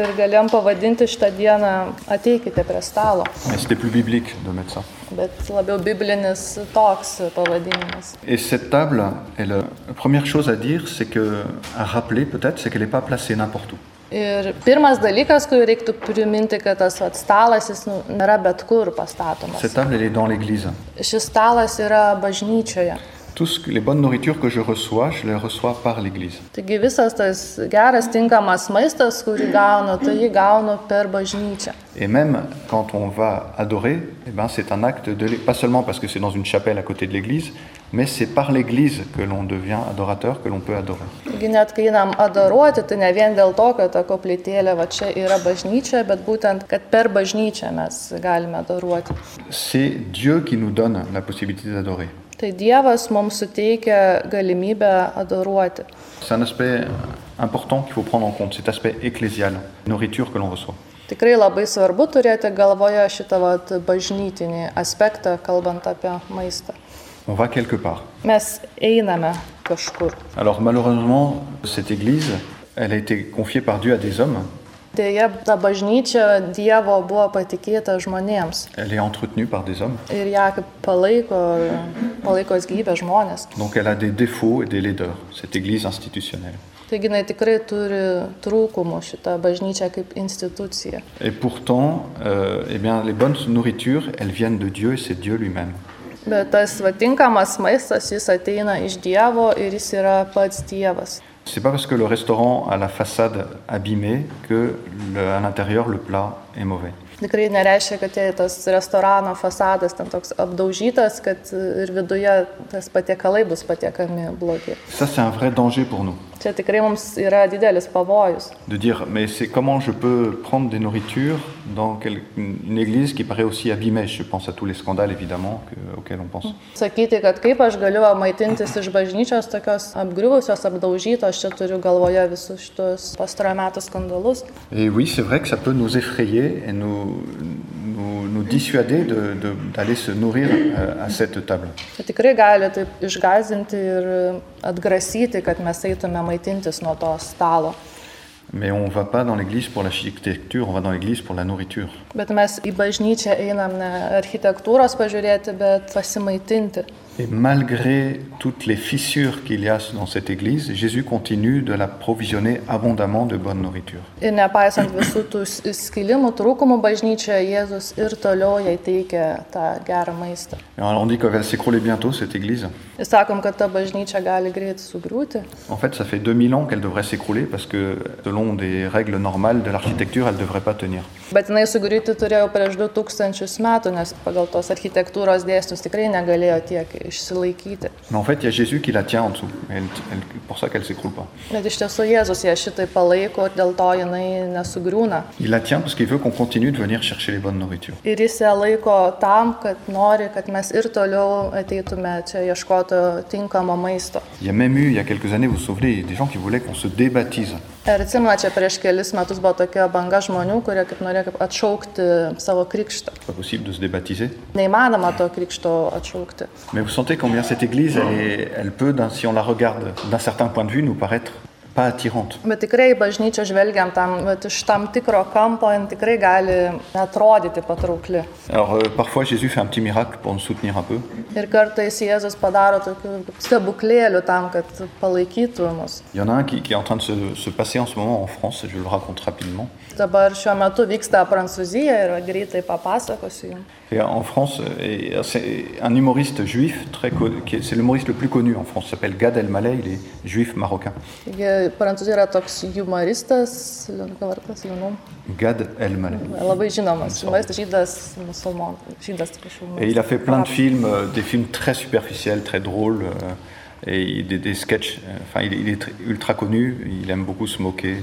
Speaker 3: Ir galėjom pavadinti šitą dieną ateikite prie stalo,
Speaker 2: Mais c'était plus biblique de mettre ça.
Speaker 3: bet labiau biblinis toks pavadinimas.
Speaker 2: Et cette table, elle, euh, la première chose à dire, c'est que, à rappeler peut-être, c'est qu'elle n'est pas placée n'importe où.
Speaker 3: Ir pirmas dalykas, kurį reiktų priminti, kad tas vat, stalas jis nu, nėra bet kur pastatomas.
Speaker 2: Cette table, elle est dans l'église.
Speaker 3: Šis stalas yra bažnyčioje.
Speaker 2: Tout ce que- les bonnes nourritures que je reçois, je les reçois par l'Église.
Speaker 3: Taigi visas tas geras, tinkamas maistas, kurį gaunu, tai jį gaunu per bažnyčią.
Speaker 2: Et même quand on va adorer, eh ben c'est un acte de l'É- pas seulement parce que c'est dans une chapelle à côté de l'Église, mais c'est par l'Église que l'on devient adorateur, que l'on peut adorer.
Speaker 3: Taigi net kai einam adoruoti, tai ne vien dėl to, kad ta koplytėlė va čia yra bažnyčia, bet būtent, kad per bažnyčią mes galime adoruoti.
Speaker 2: C'est Dieu qui nous donne la possibilité d'adorer.
Speaker 3: Tai Dievas mums suteikia galimybę adoruoti.
Speaker 2: C'est un aspect euh, important qu'il faut prendre en compte, cet aspect ecclésial, nourriture que l'on reçoit.
Speaker 3: Tikrai labai svarbu turėti galvoje šitą vat, bažnytinį aspektą, kalbant apie maistą.
Speaker 2: On va quelque part.
Speaker 3: Mes einame kažkur.
Speaker 2: Alors malheureusement, cette Église, elle a été confiée par Dieu à des hommes.
Speaker 3: Deja, ta bažnyčia Dievo buvo patikėta žmonėms
Speaker 2: Elle est entretenue par des hommes.
Speaker 3: ir ją kaip palaiko, palaiko gyvybę žmonės.
Speaker 2: Donc elle a des défauts et des laideurs, cette Église institutionnelle.
Speaker 3: Taigi jinai tikrai turi trūkumų šitą bažnyčią kaip instituciją.
Speaker 2: Et pourtant, euh, eh bien, les bonnes nourritures, elles viennent de Dieu et c'est Dieu lui-même.
Speaker 3: Bet tas vadinkamas maistas, jis ateina iš Dievo ir jis yra pats Dievas.
Speaker 2: C'est pas parce que le restaurant a la façade abîmée que le- à l'intérieur le plat est mauvais.
Speaker 3: Tikrai nereiškia, kad jei tas restorano fasadas ten toks apdaužytas, kad ir viduje tas patiekalai bus patiekami blogi.
Speaker 2: Ça, c'est un vrai danger pour nous.
Speaker 3: Čia tikrai mums yra didelis pavojus.
Speaker 2: de dire mais c'est comment je peux prendre des nourritures dans quel- une église qui paraît aussi abîmée. Je pense à tous les scandales évidemment que- auxquels on pense.
Speaker 3: Sakyti, kad kaip aš galiu va maitintis iš bažnyčios tokios apgriuvusios, apdaužytos, čia turiu galvoje visus šitus pastarojo metų skandalus.
Speaker 2: Et oui, c'est vrai que ça peut nous effrayer et nous, nous, nous dissuader de- de- d'aller se nourrir euh, à cette table.
Speaker 3: Tai tikrai gali taip išgazinti ir atgrasyti, kad mes eitume maitintis nuo to stalo.
Speaker 2: Mais on ne va pas dans l'église pour l'architecture, on va dans l'église pour la nourriture.
Speaker 3: Bet mes į bažnyčią einam ne architektūros pažiūrėti, bet pasimaitinti.
Speaker 2: Et malgré toutes les fissures qu'il y a dans cette église, Jésus continue de la provisionner abondamment de bonne nourriture.
Speaker 3: Ir nepaisant visų tų s- skilimų, trūkumų bažnyčioje, Jėzus ir toliau jai teikia tą gerą maistą.
Speaker 2: Et alors on dit qu'elle va s'écrouler bientôt, cette église.
Speaker 3: Ir sakom, kad ta bažnyčia gali greit sugriūti.
Speaker 2: En fait, ça fait 2000 ans qu'elle devrait s'écrouler parce que selon des règles normales de l'architecture, elle ne devrait pas tenir.
Speaker 3: Bet jinai sugriūti turėjo prieš 2000 metų, nes pagal tos architektūros dėsnius tikrai negalėjo tiek išsilaikyti.
Speaker 2: Mais en fait, il y a Jésus qui la tient en dessous. Et elle- elle- pour ça qu'elle ne s'écroule pas.
Speaker 3: Bet iš tiesų Jėzus ją šitai palaiko ir dėl to jinai nesugriūna.
Speaker 2: Il la tient parce qu'il veut qu'on continue de venir chercher les bonnes nourritures.
Speaker 3: Ir jis ją laiko tam, kad nori, kad mes ir toliau ateitume čia ieškoti tinkamo maisto.
Speaker 2: Il y a même eu, il y a quelques années, vous vous souvenez, des gens qui voulaient qu'on se débaptise.
Speaker 3: Ir atsimenu, čia prieš kelis metus buvo tokia banga žmonių, kurie kaip norėjo kaip atšaukti savo krikštą.
Speaker 2: C'est pas possible de se débaptiser.
Speaker 3: Neįmanoma to krikšto atšaukti.
Speaker 2: Mais vous sentez combien cette église, elle, est- elle peut, d'un- si on la regarde d'un certain point de vue, nous paraître pas attirante.
Speaker 3: Bet tikrai į bažnyčią žvelgiam tam, vat iš tam tikro kampo, jin tikrai gali atrodyti patraukli.
Speaker 2: Alors euh, parfois Jésus fait un petit miracle pour nous soutenir un peu.
Speaker 3: Ir kartais Jėzus padaro tokių stebuklėlių tam, kad palaikytų mus.
Speaker 2: Il y en a un qui, qui est en train de se, se passer en ce moment en France, je le raconte rapidement.
Speaker 3: Dabar šiuo metu vyksta Prancūzija ir va greitai papasakosiu jums.
Speaker 2: Et euh, en France, et euh, c'est un humoriste juif, très connu- qui est- c'est l'humoriste le plus connu en France, il s'appelle Gad Elmaleh, il est juif marocain.
Speaker 3: Taigi, Prancūzija yra toks humoristas, Liūdna vardas, Liūdna.
Speaker 2: Gad Elmaleh.
Speaker 3: Labai žinomas, žinomas žydas, musulmonas, žydas, atsiprašau.
Speaker 2: Et il a fait plein de
Speaker 3: Ah.
Speaker 2: films, euh, des films très superficiels, très drôles, euh, et des, des sketchs. Euh, Enfin, il, est- il est tr- ultra connu, il aime beaucoup se moquer.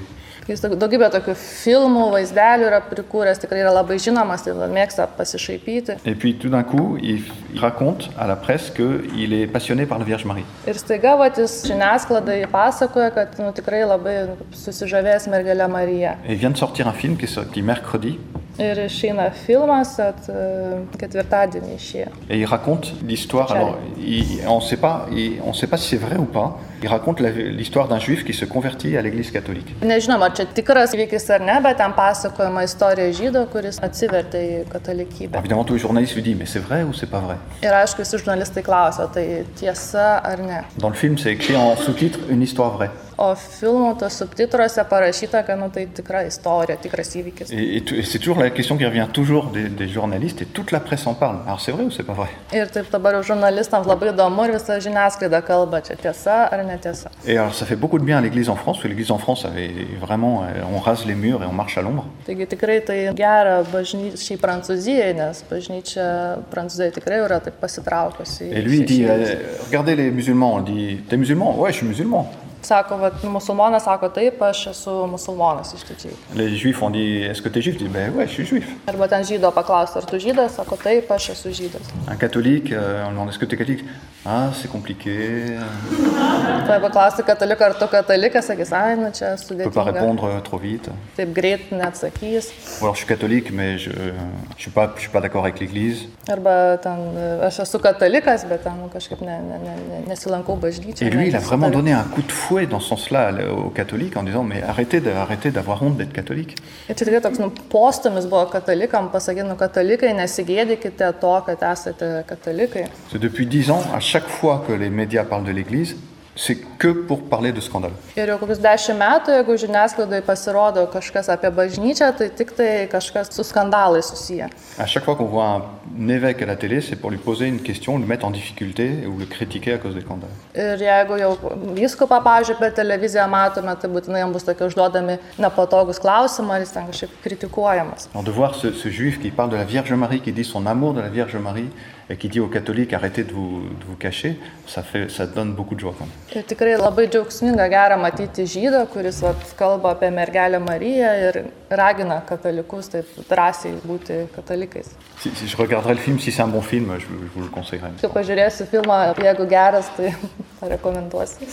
Speaker 3: Jis daug- daugybę tokių filmų, vaizdelių yra prikūręs, tikrai yra labai žinomas, tai mėgsta pasišaipyti.
Speaker 2: Et puis tout d'un coup, il, il raconte à la presse qu'il est passionné par la Vierge Marie.
Speaker 3: Ir staiga vatis žiniasklaidai pasakoja, kad nu, tikrai labai nu, susižavės mergelė Marija.
Speaker 2: Et il vient de sortir un film qui est sorti mercredi,
Speaker 3: Ir išeina filmas, at, e, ketvirtadienį išėjo.
Speaker 2: Et il raconte l'histoire. Alors, il- on sait pas, il- on sait pas si c'est vrai ou pas. Il raconte la- l'histoire d'un juif qui se convertit à l'Église catholique.
Speaker 3: Nežinoma, ar čia tikras įvykis ar ne, bet ten pasakojama istorija žydo, kuris atsivertė į
Speaker 2: Alors,
Speaker 3: katalikybę.
Speaker 2: évidemment, tous les journalistes lui disent mais c'est vrai ou c'est pas vrai.
Speaker 3: Ir aišku, visi žurnalistai klausia, tai tiesa ar ne.
Speaker 2: Dans le film, c'est écrit en sous-titre une histoire vraie.
Speaker 3: O filmo tos subtitruose parašyta, kad nu, tai tikra istorija, tikras įvykis.
Speaker 2: Et, et tu- et c'est toujours la question qui revient toujours des, des journalistes et toute la presse en parle. Alors c'est vrai ou c'est pas vrai
Speaker 3: Ir taip dabar jau žurnalistams labai įdomu ir visa žiniasklaida kalba, čia tiesa ar netiesa.
Speaker 2: Et alors ça fait beaucoup de bien à l'Église en France. parce que L'Église en France avait vraiment, euh, on rase les murs et on marche à l'ombre.
Speaker 3: Taigi tikrai tai gera bažnyčiai Prancūzijai, nes bažnyčia Prancūzijai tikrai yra taip pasitraukusi. į
Speaker 2: Et lui il dit
Speaker 3: šešėlį.
Speaker 2: euh, regardez les musulmans. On dit t'es musulman Ouais, je suis musulman.
Speaker 3: Sako, vat, musulmonas sako taip, aš esu musulmonas iš tikrųjų.
Speaker 2: Les juifs on dit est-ce que t'es juif Il dit ben ouais, je suis juif.
Speaker 3: Arba ten žydo paklausti, ar tu žydas, sako taip, aš esu žydas.
Speaker 2: Un catholique, euh, on lui demande est-ce que tu es catholique Ah, c'est compliqué. On
Speaker 3: Tai paklausti kataliką, ar tu katalikas, sakys, ai, nu čia
Speaker 2: ne peut pas
Speaker 3: sudėtinga.
Speaker 2: répondre euh, trop vite.
Speaker 3: Taip greit neatsakys.
Speaker 2: Ou alors je suis catholique, mais je ne suis pas, je suis pas d'accord avec l'Église.
Speaker 3: Arba ten, e, aš esu katalikas, bet ten nu, kažkaip ne, ne, ne, ne, nesilankau bažnyčiai.
Speaker 2: Et lui,
Speaker 3: ne-
Speaker 2: il a vraiment
Speaker 3: nesitariu.
Speaker 2: donné un coup de fouet dans ce sens-là à- aux catholiques en disant mais arrêtez de- arrêtez d'avoir honte d'être catholique.
Speaker 3: Ir čia tikrai toks nu, postumis buvo katalikam, pasakyti, nu katalikai, nesigėdykite to, kad esate katalikai.
Speaker 2: Parce que depuis dix ans, à chaque fois que les médias parlent de l'Église, c'est que pour parler de scandale.
Speaker 3: Ir jau kokius dešimt metų, jeigu žiniasklaidoje pasirodo kažkas apie bažnyčią, tai tik tai kažkas su skandalai susiję.
Speaker 2: À chaque fois qu'on voit un, un évêque à la télé, c'est pour lui poser une question, le mettre en difficulté ou le critiquer à cause des scandales.
Speaker 3: Ir jeigu jau vyskupą, pavyzdžiui, per televiziją matome, tai būtinai jam bus tokie užduodami nepatogus klausimai, ar jis ten kažkaip kritikuojamas.
Speaker 2: Alors de voir ce, ce juif qui parle de la Vierge Marie, qui dit son amour de la Vierge Marie, et qui dit aux catholiques arrêtez de vous, de vous cacher, ça, fait, ça donne beaucoup de joie quand même.
Speaker 3: Ir Tai tikrai labai džiaugsminga gera matyti žydą, kuris vat, kalba apie mergelę Mariją ir ragina katalikus taip drąsiai būti katalikais.
Speaker 2: Si, si je regarderai le film, si c'est un bon film, je, je vous le conseillerai.
Speaker 3: Kai pažiūrėsiu filmą, jeigu geras, tai rekomenduosiu.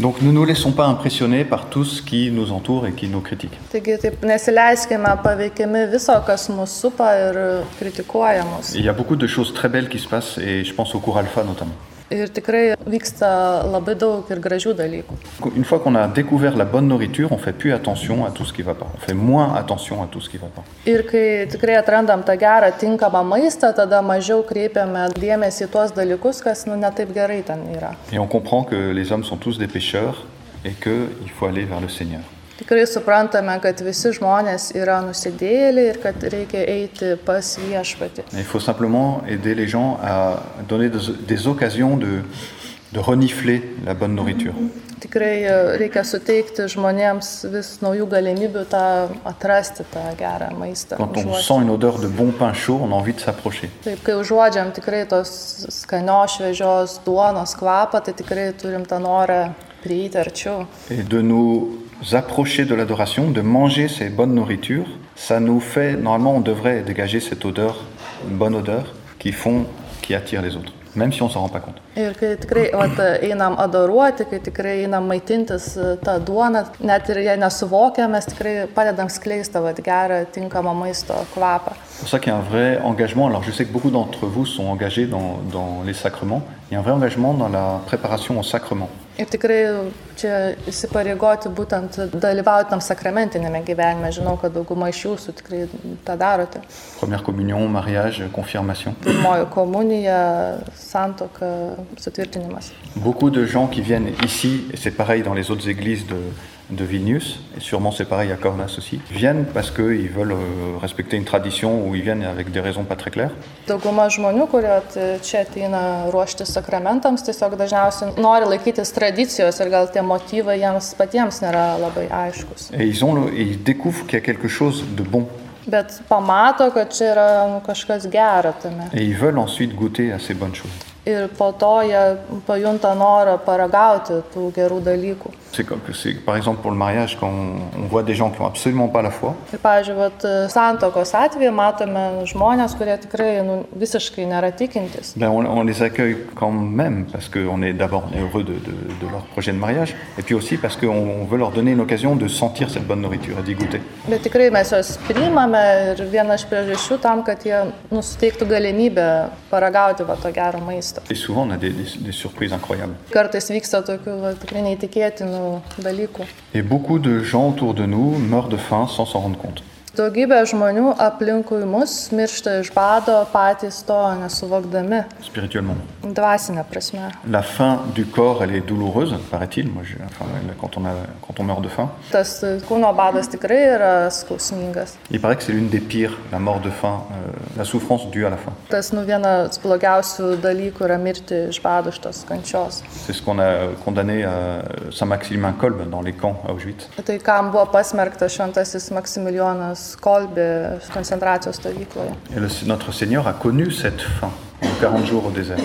Speaker 2: Donc ne nous laissons pas impressionner par tout ce qui nous entoure et qui nous critique.
Speaker 3: Taigi taip nesileiskime paveikiami viso, kas mus supa ir kritikuoja mus.
Speaker 2: Il y a beaucoup de choses très belles qui se passent et je pense au cours alpha notamment.
Speaker 3: Ir tikrai vyksta labai daug ir gražių dalykų.
Speaker 2: Une fois qu'on a découvert la bonne nourriture, on fait plus attention à tout ce qui va pas. On fait moins attention à tout ce qui va pas.
Speaker 3: Ir kai tikrai atrandam tą gerą, tinkamą maistą, tada mažiau kreipiame dėmesį į tuos dalykus, kas nu, netaip gerai ten yra.
Speaker 2: Et on comprend que les hommes sont tous des pécheurs et qu'il faut aller vers le Seigneur.
Speaker 3: Tikrai suprantame, kad visi žmonės yra nusidėliai ir kad reikia eiti pas viešpatį.
Speaker 2: Et il faut simplement aider les gens à donner des, des occasions de, de renifler la bonne nourriture.
Speaker 3: Tikrai e, reikia suteikti žmonėms vis naujų galimybių tą atrasti tą gerą maistą.
Speaker 2: Quand on
Speaker 3: užuosti.
Speaker 2: sent une odeur de bon pain chaud, on a envie de s'approcher.
Speaker 3: Taip, kai užuodžiam tikrai tos skanios šviežios duonos kvapą, tai tikrai turim tą norą prieiti arčiau.
Speaker 2: Et de nous approcher de l'adoration, de manger ces bonnes nourritures, ça nous fait, normalement on devrait dégager cette odeur, une bonne odeur, qui font, qui attire les autres, même si on s'en rend pas compte.
Speaker 3: Ir kai tikrai vat, einam adoruoti, kai tikrai einam maitintis e, tą duoną, net ir jie nesuvokia, mes tikrai padedam skleisti vat, gerą, tinkamą maisto kvapą.
Speaker 2: C'est pour ça qu'il y a un vrai engagement. Alors je sais que beaucoup d'entre vous sont engagés dans, dans les sacrements. Il y a un vrai engagement dans la préparation au sacrement.
Speaker 3: Ir tikrai čia įsipareigoti būtent dalyvauti tam sakramentinėme gyvenime. Žinau, kad dauguma iš jūsų tikrai tą darote.
Speaker 2: Première communion, mariage, confirmation.
Speaker 3: Pirmoji komunija, santoka, sutvirtinimas.
Speaker 2: Beaucoup de gens qui viennent ici, et c'est pareil dans les autres églises de, de Vilnius, et sûrement c'est pareil à Cornas aussi, viennent parce qu'ils veulent euh, respecter une tradition ou ils viennent avec des raisons pas très claires.
Speaker 3: Dauguma žmonių, kurie at- čia ateina ruošti sakramentams, tiesiog dažniausiai nori laikytis tradicijos ir gal tie motyvai jiems patiems nėra labai aiškus.
Speaker 2: Et ils, ont le- et ils découvrent qu'il y a quelque chose de bon.
Speaker 3: Bet pamato, kad čia yra nu, kažkas gero tame.
Speaker 2: Et ils veulent ensuite goûter à ces bonnes choses.
Speaker 3: Ir po to jie pajunta norą paragauti tų gerų dalykų.
Speaker 2: C'est comme que c'est, par exemple pour le mariage, quand on, on voit des gens qui n'ont absolument pas la foi,
Speaker 3: Ir, pavyzdžiui, vat, santokos atveju matome žmonės, kurie tikrai nu, visiškai nėra tikintis.
Speaker 2: ben on, on les accueille quand même parce qu'on est d'abord on est heureux de, de- de leur projet de mariage, et puis aussi parce qu'on on veut leur donner une occasion de sentir cette bonne nourriture et d'y goûter.
Speaker 3: Bet tikrai mes juos priimame ir viena iš priežasčių tam, kad jie nusteiktų galimybę paragauti va to gero maisto.
Speaker 2: Et souvent, on a des, des- des surprises incroyables.
Speaker 3: Kartais vyksta tokių va, tikrai neįtikėtinų dalykų.
Speaker 2: Et beaucoup de gens autour de nous meurent de faim sans s'en rendre compte.
Speaker 3: Daugybė žmonių aplinkui mus miršta iš bado patys to nesuvokdami,
Speaker 2: Spirituellement.
Speaker 3: dvasinė prasme.
Speaker 2: La faim du corps, elle est douloureuse, paraît-il. Moi, je- enfin, elle- quand, on a- quand on meurt de faim.
Speaker 3: Tas e, kūno badas tikrai yra skausmingas.
Speaker 2: Il paraît que c'est l'une des pires, la mort de faim, euh, la souffrance due à la faim.
Speaker 3: Tas nu vienas blogiausių dalykų yra mirti iš bado šitos kančios.
Speaker 2: C'est ce qu'on a euh, condamné à Saint-Maximin Kolb dans les camps à Auschwitz.
Speaker 3: Tai kam buvo pasmerktas šventasis Maksimilijonas Kolbė koncentracijos stovykloje.
Speaker 2: Et le- notre Seigneur a connu cette faim en 40 jours au désert.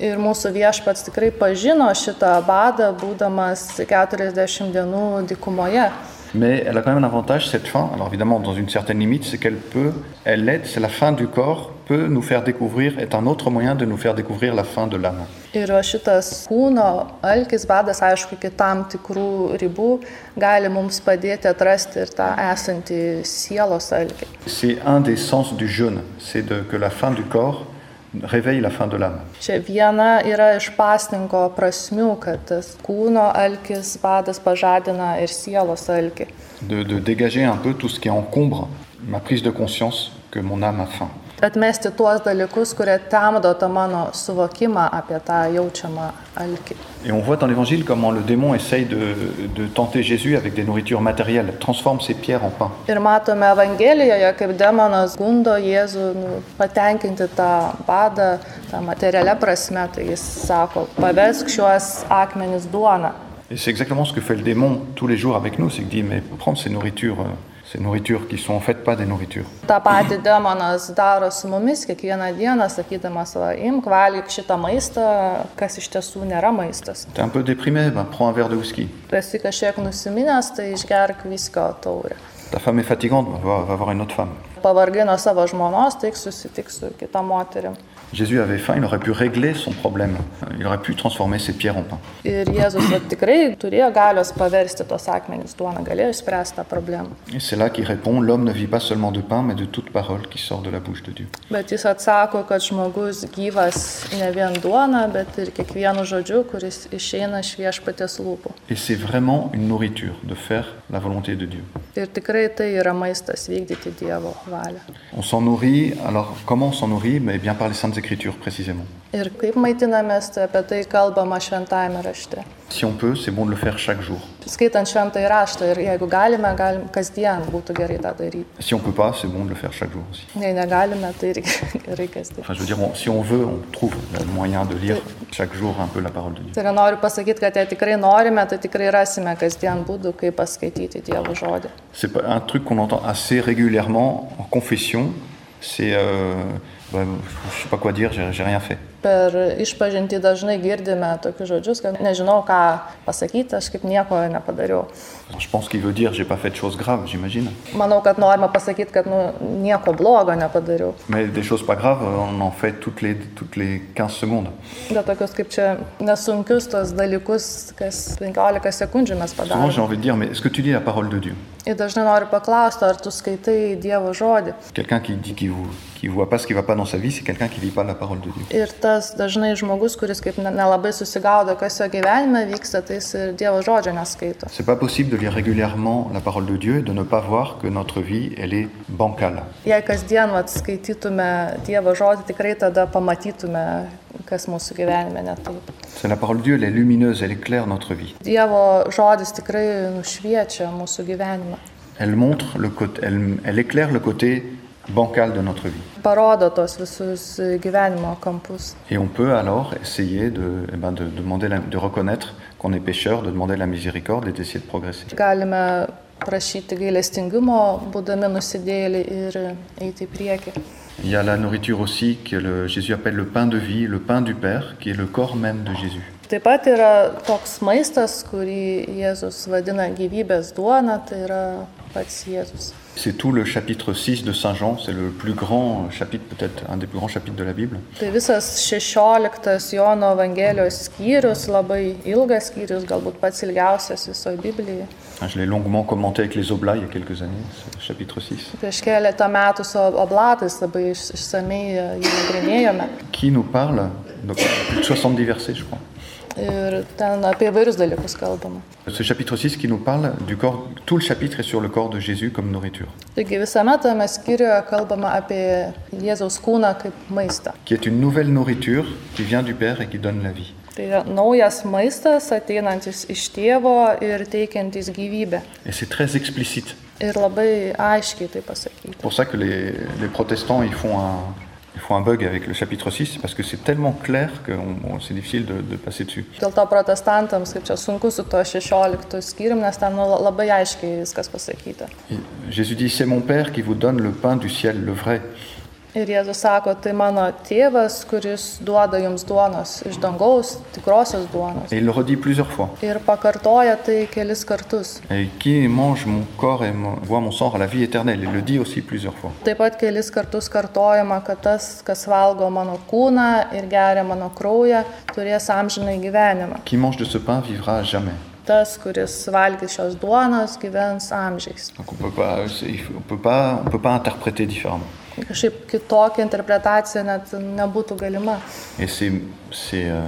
Speaker 3: Ir mūsų viešpats tikrai pažino šitą badą, būdamas 40 dienų dykumoje.
Speaker 2: Mais elle a quand même un avantage, cette faim. Alors évidemment, dans une certaine limite, c'est qu'elle peut, elle l'aide, c'est la faim du corps, peut nous faire découvrir, est un autre moyen de nous faire découvrir la faim de l'âme.
Speaker 3: Ir va šitas kūno alkis, badas, aišku, iki tam tikrų ribų gali mums padėti atrasti ir tą esantį sielos alkį.
Speaker 2: C'est un des sens du jeûne, c'est de- que la faim du corps réveille la faim de l'âme.
Speaker 3: Čia viena yra iš pasninko prasmių, kad tas kūno alkis, badas pažadina ir sielos alkį.
Speaker 2: De, de dégager un peu tout ce qui encombre ma prise de conscience que mon âme a faim.
Speaker 3: Atmesti tuos dalykus, kurie temdo tą mano suvokimą apie tą jaučiamą alkį.
Speaker 2: Et on voit dans l'évangile comment le démon essaye de, de tenter Jésus avec des nourritures matérielles, transforme ses pierres en pain.
Speaker 3: Ir matome Evangelijoje, kaip demonas gundo Jėzų nu, patenkinti tą badą, tą materialią prasme, tai jis sako, paversk šiuos akmenis duona.
Speaker 2: Et c'est exactement ce que fait le démon tous les jours avec nous, c'est qu'il dit mais prends ces nourritures, euh, ces nourritures qui sont en fait pas des nourritures.
Speaker 3: Ta pati demonas daro su mumis kiekvieną dieną, sakydamas, va, imk valgyk šitą maistą, kas iš tiesų nėra maistas.
Speaker 2: T'es un peu déprimé, ben, prends un verre de whisky.
Speaker 3: Tu esi kažkiek nusiminęs, tai išgerk viskio taurę.
Speaker 2: Ta femme est fatigante, ben, va, va voir une autre femme.
Speaker 3: Pavargai nuo savo žmonos, tai susitik su kita moterim.
Speaker 2: Jésus avait faim, il aurait pu régler son problème. Euh, Il aurait pu transformer ses pierres en pain.
Speaker 3: Ir Jėzus va, tikrai turėjo galios paversti tos akmenys duona, galėjo išspręsti tą problemą.
Speaker 2: Et c'est là qu'il répond, l'homme ne vit pas seulement de pain, mais de toute parole qui sort de la bouche de Dieu.
Speaker 3: Bet jis atsako, kad žmogus gyvas ne vien duona, bet ir kiekvienu žodžiu, kuris išeina iš viešpatės lūpų.
Speaker 2: Et c'est vraiment une nourriture de faire la volonté de Dieu.
Speaker 3: Ir tikrai tai yra maistas vykdyti Dievo valią.
Speaker 2: On s'en nourrit, alors comment on s'en nourrit Mais bien par les Saintes Écritures précisément.
Speaker 3: Ir kaip maitinamės, tai apie tai kalbama šventajame rašte.
Speaker 2: Si on peut, c'est bon de le faire chaque jour.
Speaker 3: Skaitant šventąjį raštą ir jeigu galime, galim, kasdien būtų gerai tą daryti.
Speaker 2: Si on peut pas, c'est bon de le faire chaque jour aussi.
Speaker 3: Jei negalime, tai irgi gerai kasdien.
Speaker 2: Enfin, je veux dire, on- si on veut, on trouve le moyen de lire chaque jour un peu la parole de Dieu.
Speaker 3: Tai yra noriu pasakyti, kad jei tikrai norime, tai tikrai rasime kasdien būdų, kaip paskaityti Dievo žodį.
Speaker 2: C'est pas- un truc qu'on entend assez régulièrement en confession. C'est, euh, bah, je sais pas quoi dire, j'ai j'ai rien fait.
Speaker 3: Per išpažinti dažnai girdime tokius žodžius, kad nežinau, ką pasakyti, aš kaip nieko nepadariau.
Speaker 2: Alors, je pense qu'il veut dire, j'ai pas fait de choses graves, j'imagine.
Speaker 3: Manau, kad norima pasakyti, kad nu, nieko blogo nepadariau.
Speaker 2: Mais des choses pas graves, on en fait toutes les, toutes les 15 secondes.
Speaker 3: Bet tokius kaip čia nesunkius tos dalykus, kas 15 sekundžių mes
Speaker 2: Souvent, j'ai
Speaker 3: padarome.
Speaker 2: envie de dire, mais est-ce que tu lis la parole de Dieu
Speaker 3: Ir dažnai noriu paklausti, ar tu skaitai Dievo žodį.
Speaker 2: Quelqu'un qui dit qu'il vous, qui voit pas ce qui va pas dans sa vie, c'est quelqu'un qui lit pas la parole de Dieu.
Speaker 3: Ir tas dažnai žmogus, kuris kaip ne- nelabai susigaudo, kas jo gyvenime vyksta, tai jis ir Dievo žodžio neskaito.
Speaker 2: C'est pas possible de lire régulièrement la parole de Dieu et de ne pas voir que notre vie, elle est bancale.
Speaker 3: Jei kasdien vat, skaitytume Dievo žodį, tikrai tada pamatytume, kas mūsų gyvenime netaip.
Speaker 2: C'est la parole de Dieu, elle est lumineuse, elle éclaire notre vie.
Speaker 3: Dievo žodis tikrai nušviečia mūsų gyvenimą.
Speaker 2: Elle montre le côté, elle, elle éclaire le côté bancal de notre vie.
Speaker 3: Parodo tos visus gyvenimo kampus.
Speaker 2: Et on peut alors essayer de, eh ben, de demander, la- de reconnaître qu'on est pécheur, de demander la miséricorde et d'essayer de progresser.
Speaker 3: Galime prašyti gailestingumo, būdami nusidėlį ir eiti į priekį.
Speaker 2: Il y a la nourriture aussi que le- Jésus appelle le pain de vie, le pain du Père, qui est le corps même de Jésus.
Speaker 3: Taip pat yra toks maistas, kurį Jėzus vadina gyvybės duona, tai yra pats Jėzus.
Speaker 2: C'est tout le chapitre 6 de Saint Jean, c'est le plus grand chapitre, peut-être un des plus grands chapitres de la Bible.
Speaker 3: Tai visas 16 Jono Evangelijos skyrius, labai ilgas skyrius, galbūt pats ilgiausias visoje Biblijoje.
Speaker 2: Hein, Je l'ai longuement commenté avec les Oblats il y a quelques années, ce chapitre 6,
Speaker 3: Prieš keletą metų su oblatais labai iš- išsamei e, jį nagrinėjome.
Speaker 2: qui nous parle de plus de 70 versets, je crois.
Speaker 3: Ir ten apie vairius dalykus kalbama.
Speaker 2: Ce chapitre 6 qui nous parle du corps, tout le chapitre est sur le corps de Jésus comme nourriture,
Speaker 3: Taigi visame tame skyriuje kalbama apie Jėzaus kūną kaip maistą.
Speaker 2: qui est une nouvelle nourriture qui vient du Père et qui donne la vie.
Speaker 3: Tai yra naujas maistas ateinantis iš tėvo ir teikiantis gyvybę.
Speaker 2: Et c'est très explicite.
Speaker 3: Ir labai aiškiai tai pasakyti.
Speaker 2: C'est pour ça que les, les protestants, ils font, un, ils font un bug avec le chapitre 6, parce que c'est tellement clair que on- on- c'est difficile de, de passer dessus.
Speaker 3: Dėl to protestantams, kaip čia sunku su to 16 skyrium, nes ten nu, labai aiškiai viskas pasakyta.
Speaker 2: Et Jésus dit, c'est mon Père qui vous donne le pain du ciel, le vrai.
Speaker 3: Ir Jėzus sako, tai mano tėvas, kuris duoda jums duonos iš dangaus, tikrosios duonos.
Speaker 2: Et il le redit plusieurs fois.
Speaker 3: Ir pakartoja tai kelis kartus.
Speaker 2: Et qui mange mon corps et mon- boit mon sang à la vie éternelle. Il le dit aussi plusieurs fois.
Speaker 3: Taip pat kelis kartus kartojama, kad tas, kas valgo mano kūną ir geria mano kraują, turės amžinai gyvenimą.
Speaker 2: Qui mange de ce pain vivra à jamais.
Speaker 3: Tas, kuris valgys šios duonos, gyvens amžiais.
Speaker 2: Donc on peut pas, c'est- il faut- on peut pas, on peut pas interpréter différemment.
Speaker 3: Kažkaip kitokia interpretacija net nebūtų galima.
Speaker 2: Et c'est, c'est, euh,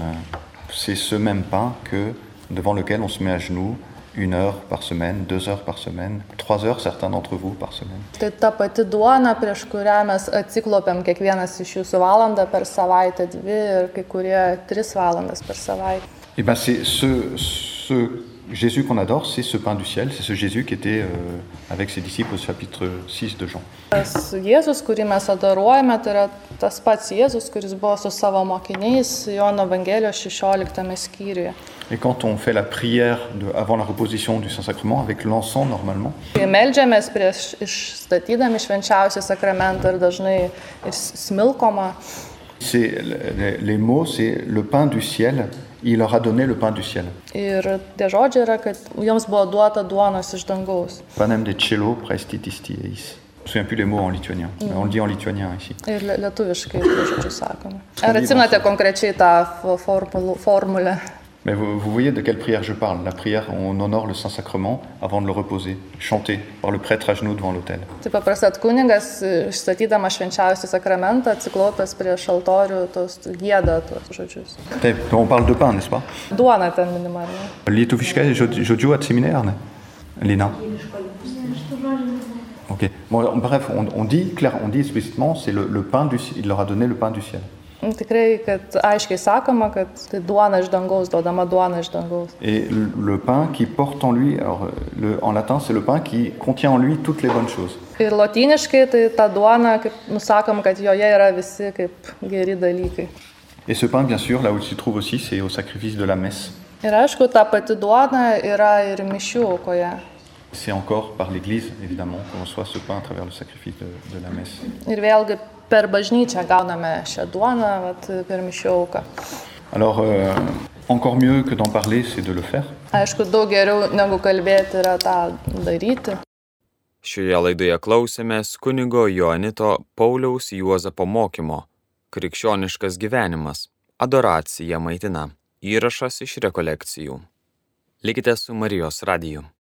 Speaker 2: c'est ce même pain que devant lequel on se met à genoux une heure par semaine, deux heures par semaine, trois heures certains d'entre vous par semaine.
Speaker 3: Tai ta pati duona, prieš kurią mes atsiklopiam kiekvienas iš jūsų valandą per savaitę, dvi ir kai kurie tris valandas per savaitę.
Speaker 2: Et ben c'est ce, ce Jésus qu'on adore, c'est ce pain du ciel, c'est ce Jésus qui était euh, avec ses disciples au chapitre 6 de Jean.
Speaker 3: Tas Jėzus, kurį mes adoruojame, tai yra tas pats Jėzus, kuris buvo su savo mokiniais Jono Evangelijos 16 skyriuje.
Speaker 2: Et quand on fait la prière de- avant la reposition du Saint-Sacrement, avec l'encens normalement,
Speaker 3: Kai meldžiamės prieš išstatydami švenčiausią sakramentą ir dažnai ir s- smilkoma,
Speaker 2: c'est les, les mots, c'est le pain du ciel, il leur a donné le pain du ciel.
Speaker 3: ir tie žodžiai yra, kad jums buvo duota duonos iš dangaus.
Speaker 2: Panem de cello prestitisti eis. Je ne me souviens plus les mots en lituanien, mais on le dit en lituanien ici.
Speaker 3: Ir lie- lietuviškai, tie žodžiai sakoma. Ar atsimate konkrečiai tą fo- formulų- formulę?
Speaker 2: Mais vous, vous voyez de quelle prière je parle. La prière, on honore le Saint-Sacrement avant de le reposer, chanté par le prêtre à genoux devant l'autel.
Speaker 3: Tai paprastai kunigas, e, išstatydamas švenčiausią sakramentą, atsiklopęs prieš altorių, tos gėda tos žodžius.
Speaker 2: Eh, On parle de pain, n'est-ce pas
Speaker 3: Duona ten minima. ar ne?
Speaker 2: Lietuviška et jod- jodio ad seminerne, Lina. Ok. Bon, bref, on, on dit clair, on dit explicitement, c'est le, le pain du, ci- il leur a donné le pain du ciel.
Speaker 3: Nu, Tikrai, kad aiškiai sakoma, kad tai duona iš dangaus, duodama duona iš dangaus.
Speaker 2: Et le, le pain qui porte en lui, alors euh, le- en latin, c'est le pain qui contient en lui toutes les bonnes choses.
Speaker 3: Ir lotyniškai tai ta duona, kaip nusakom, kad joje yra visi kaip geri dalykai.
Speaker 2: Et ce pain, bien sûr, là où il se trouve aussi, c'est au sacrifice de la messe.
Speaker 3: Ir aišku, ta pati duona yra ir mišių aukoje.
Speaker 2: C'est encore par l'Église, évidemment, qu'on reçoit ce pain à travers le sacrifice de, de la messe.
Speaker 3: Ir vėlgi per bažnyčią gauname šią duoną, vat, per mišių auką.
Speaker 2: Alors, euh, encore mieux que d'en parler, c'est de le faire.
Speaker 3: Aišku, daug geriau negu kalbėti yra tą daryti.
Speaker 1: Šioje laidoje klausėmės kunigo Joanito Pauliaus Juozapo mokymo Krikščioniškas gyvenimas - adoracija maitina. Įrašas iš rekolekcijų. Likite su Marijos radiju.